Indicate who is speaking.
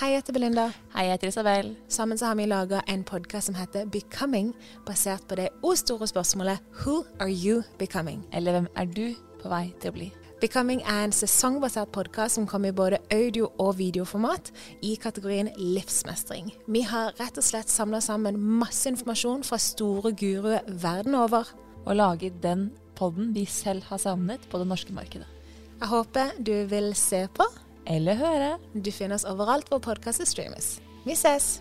Speaker 1: Hei, jeg heter Belinda.
Speaker 2: Hei, jeg heter Isabel.
Speaker 1: Sammen så har vi laga en podkast som heter Becoming, basert på det o store spørsmålet Who are you becoming?
Speaker 2: Eller hvem er du på vei til å bli?
Speaker 1: Becoming er en sesongbasert podkast som kommer i både audio- og videoformat i kategorien livsmestring. Vi har rett og slett samla sammen masse informasjon fra store guruer verden over.
Speaker 2: Og lage den podden vi selv har savnet på det norske markedet.
Speaker 1: Jeg håper du vil se på.
Speaker 2: Eller høre.
Speaker 1: Du finner oss overalt hvor podkaster streames. Vi ses!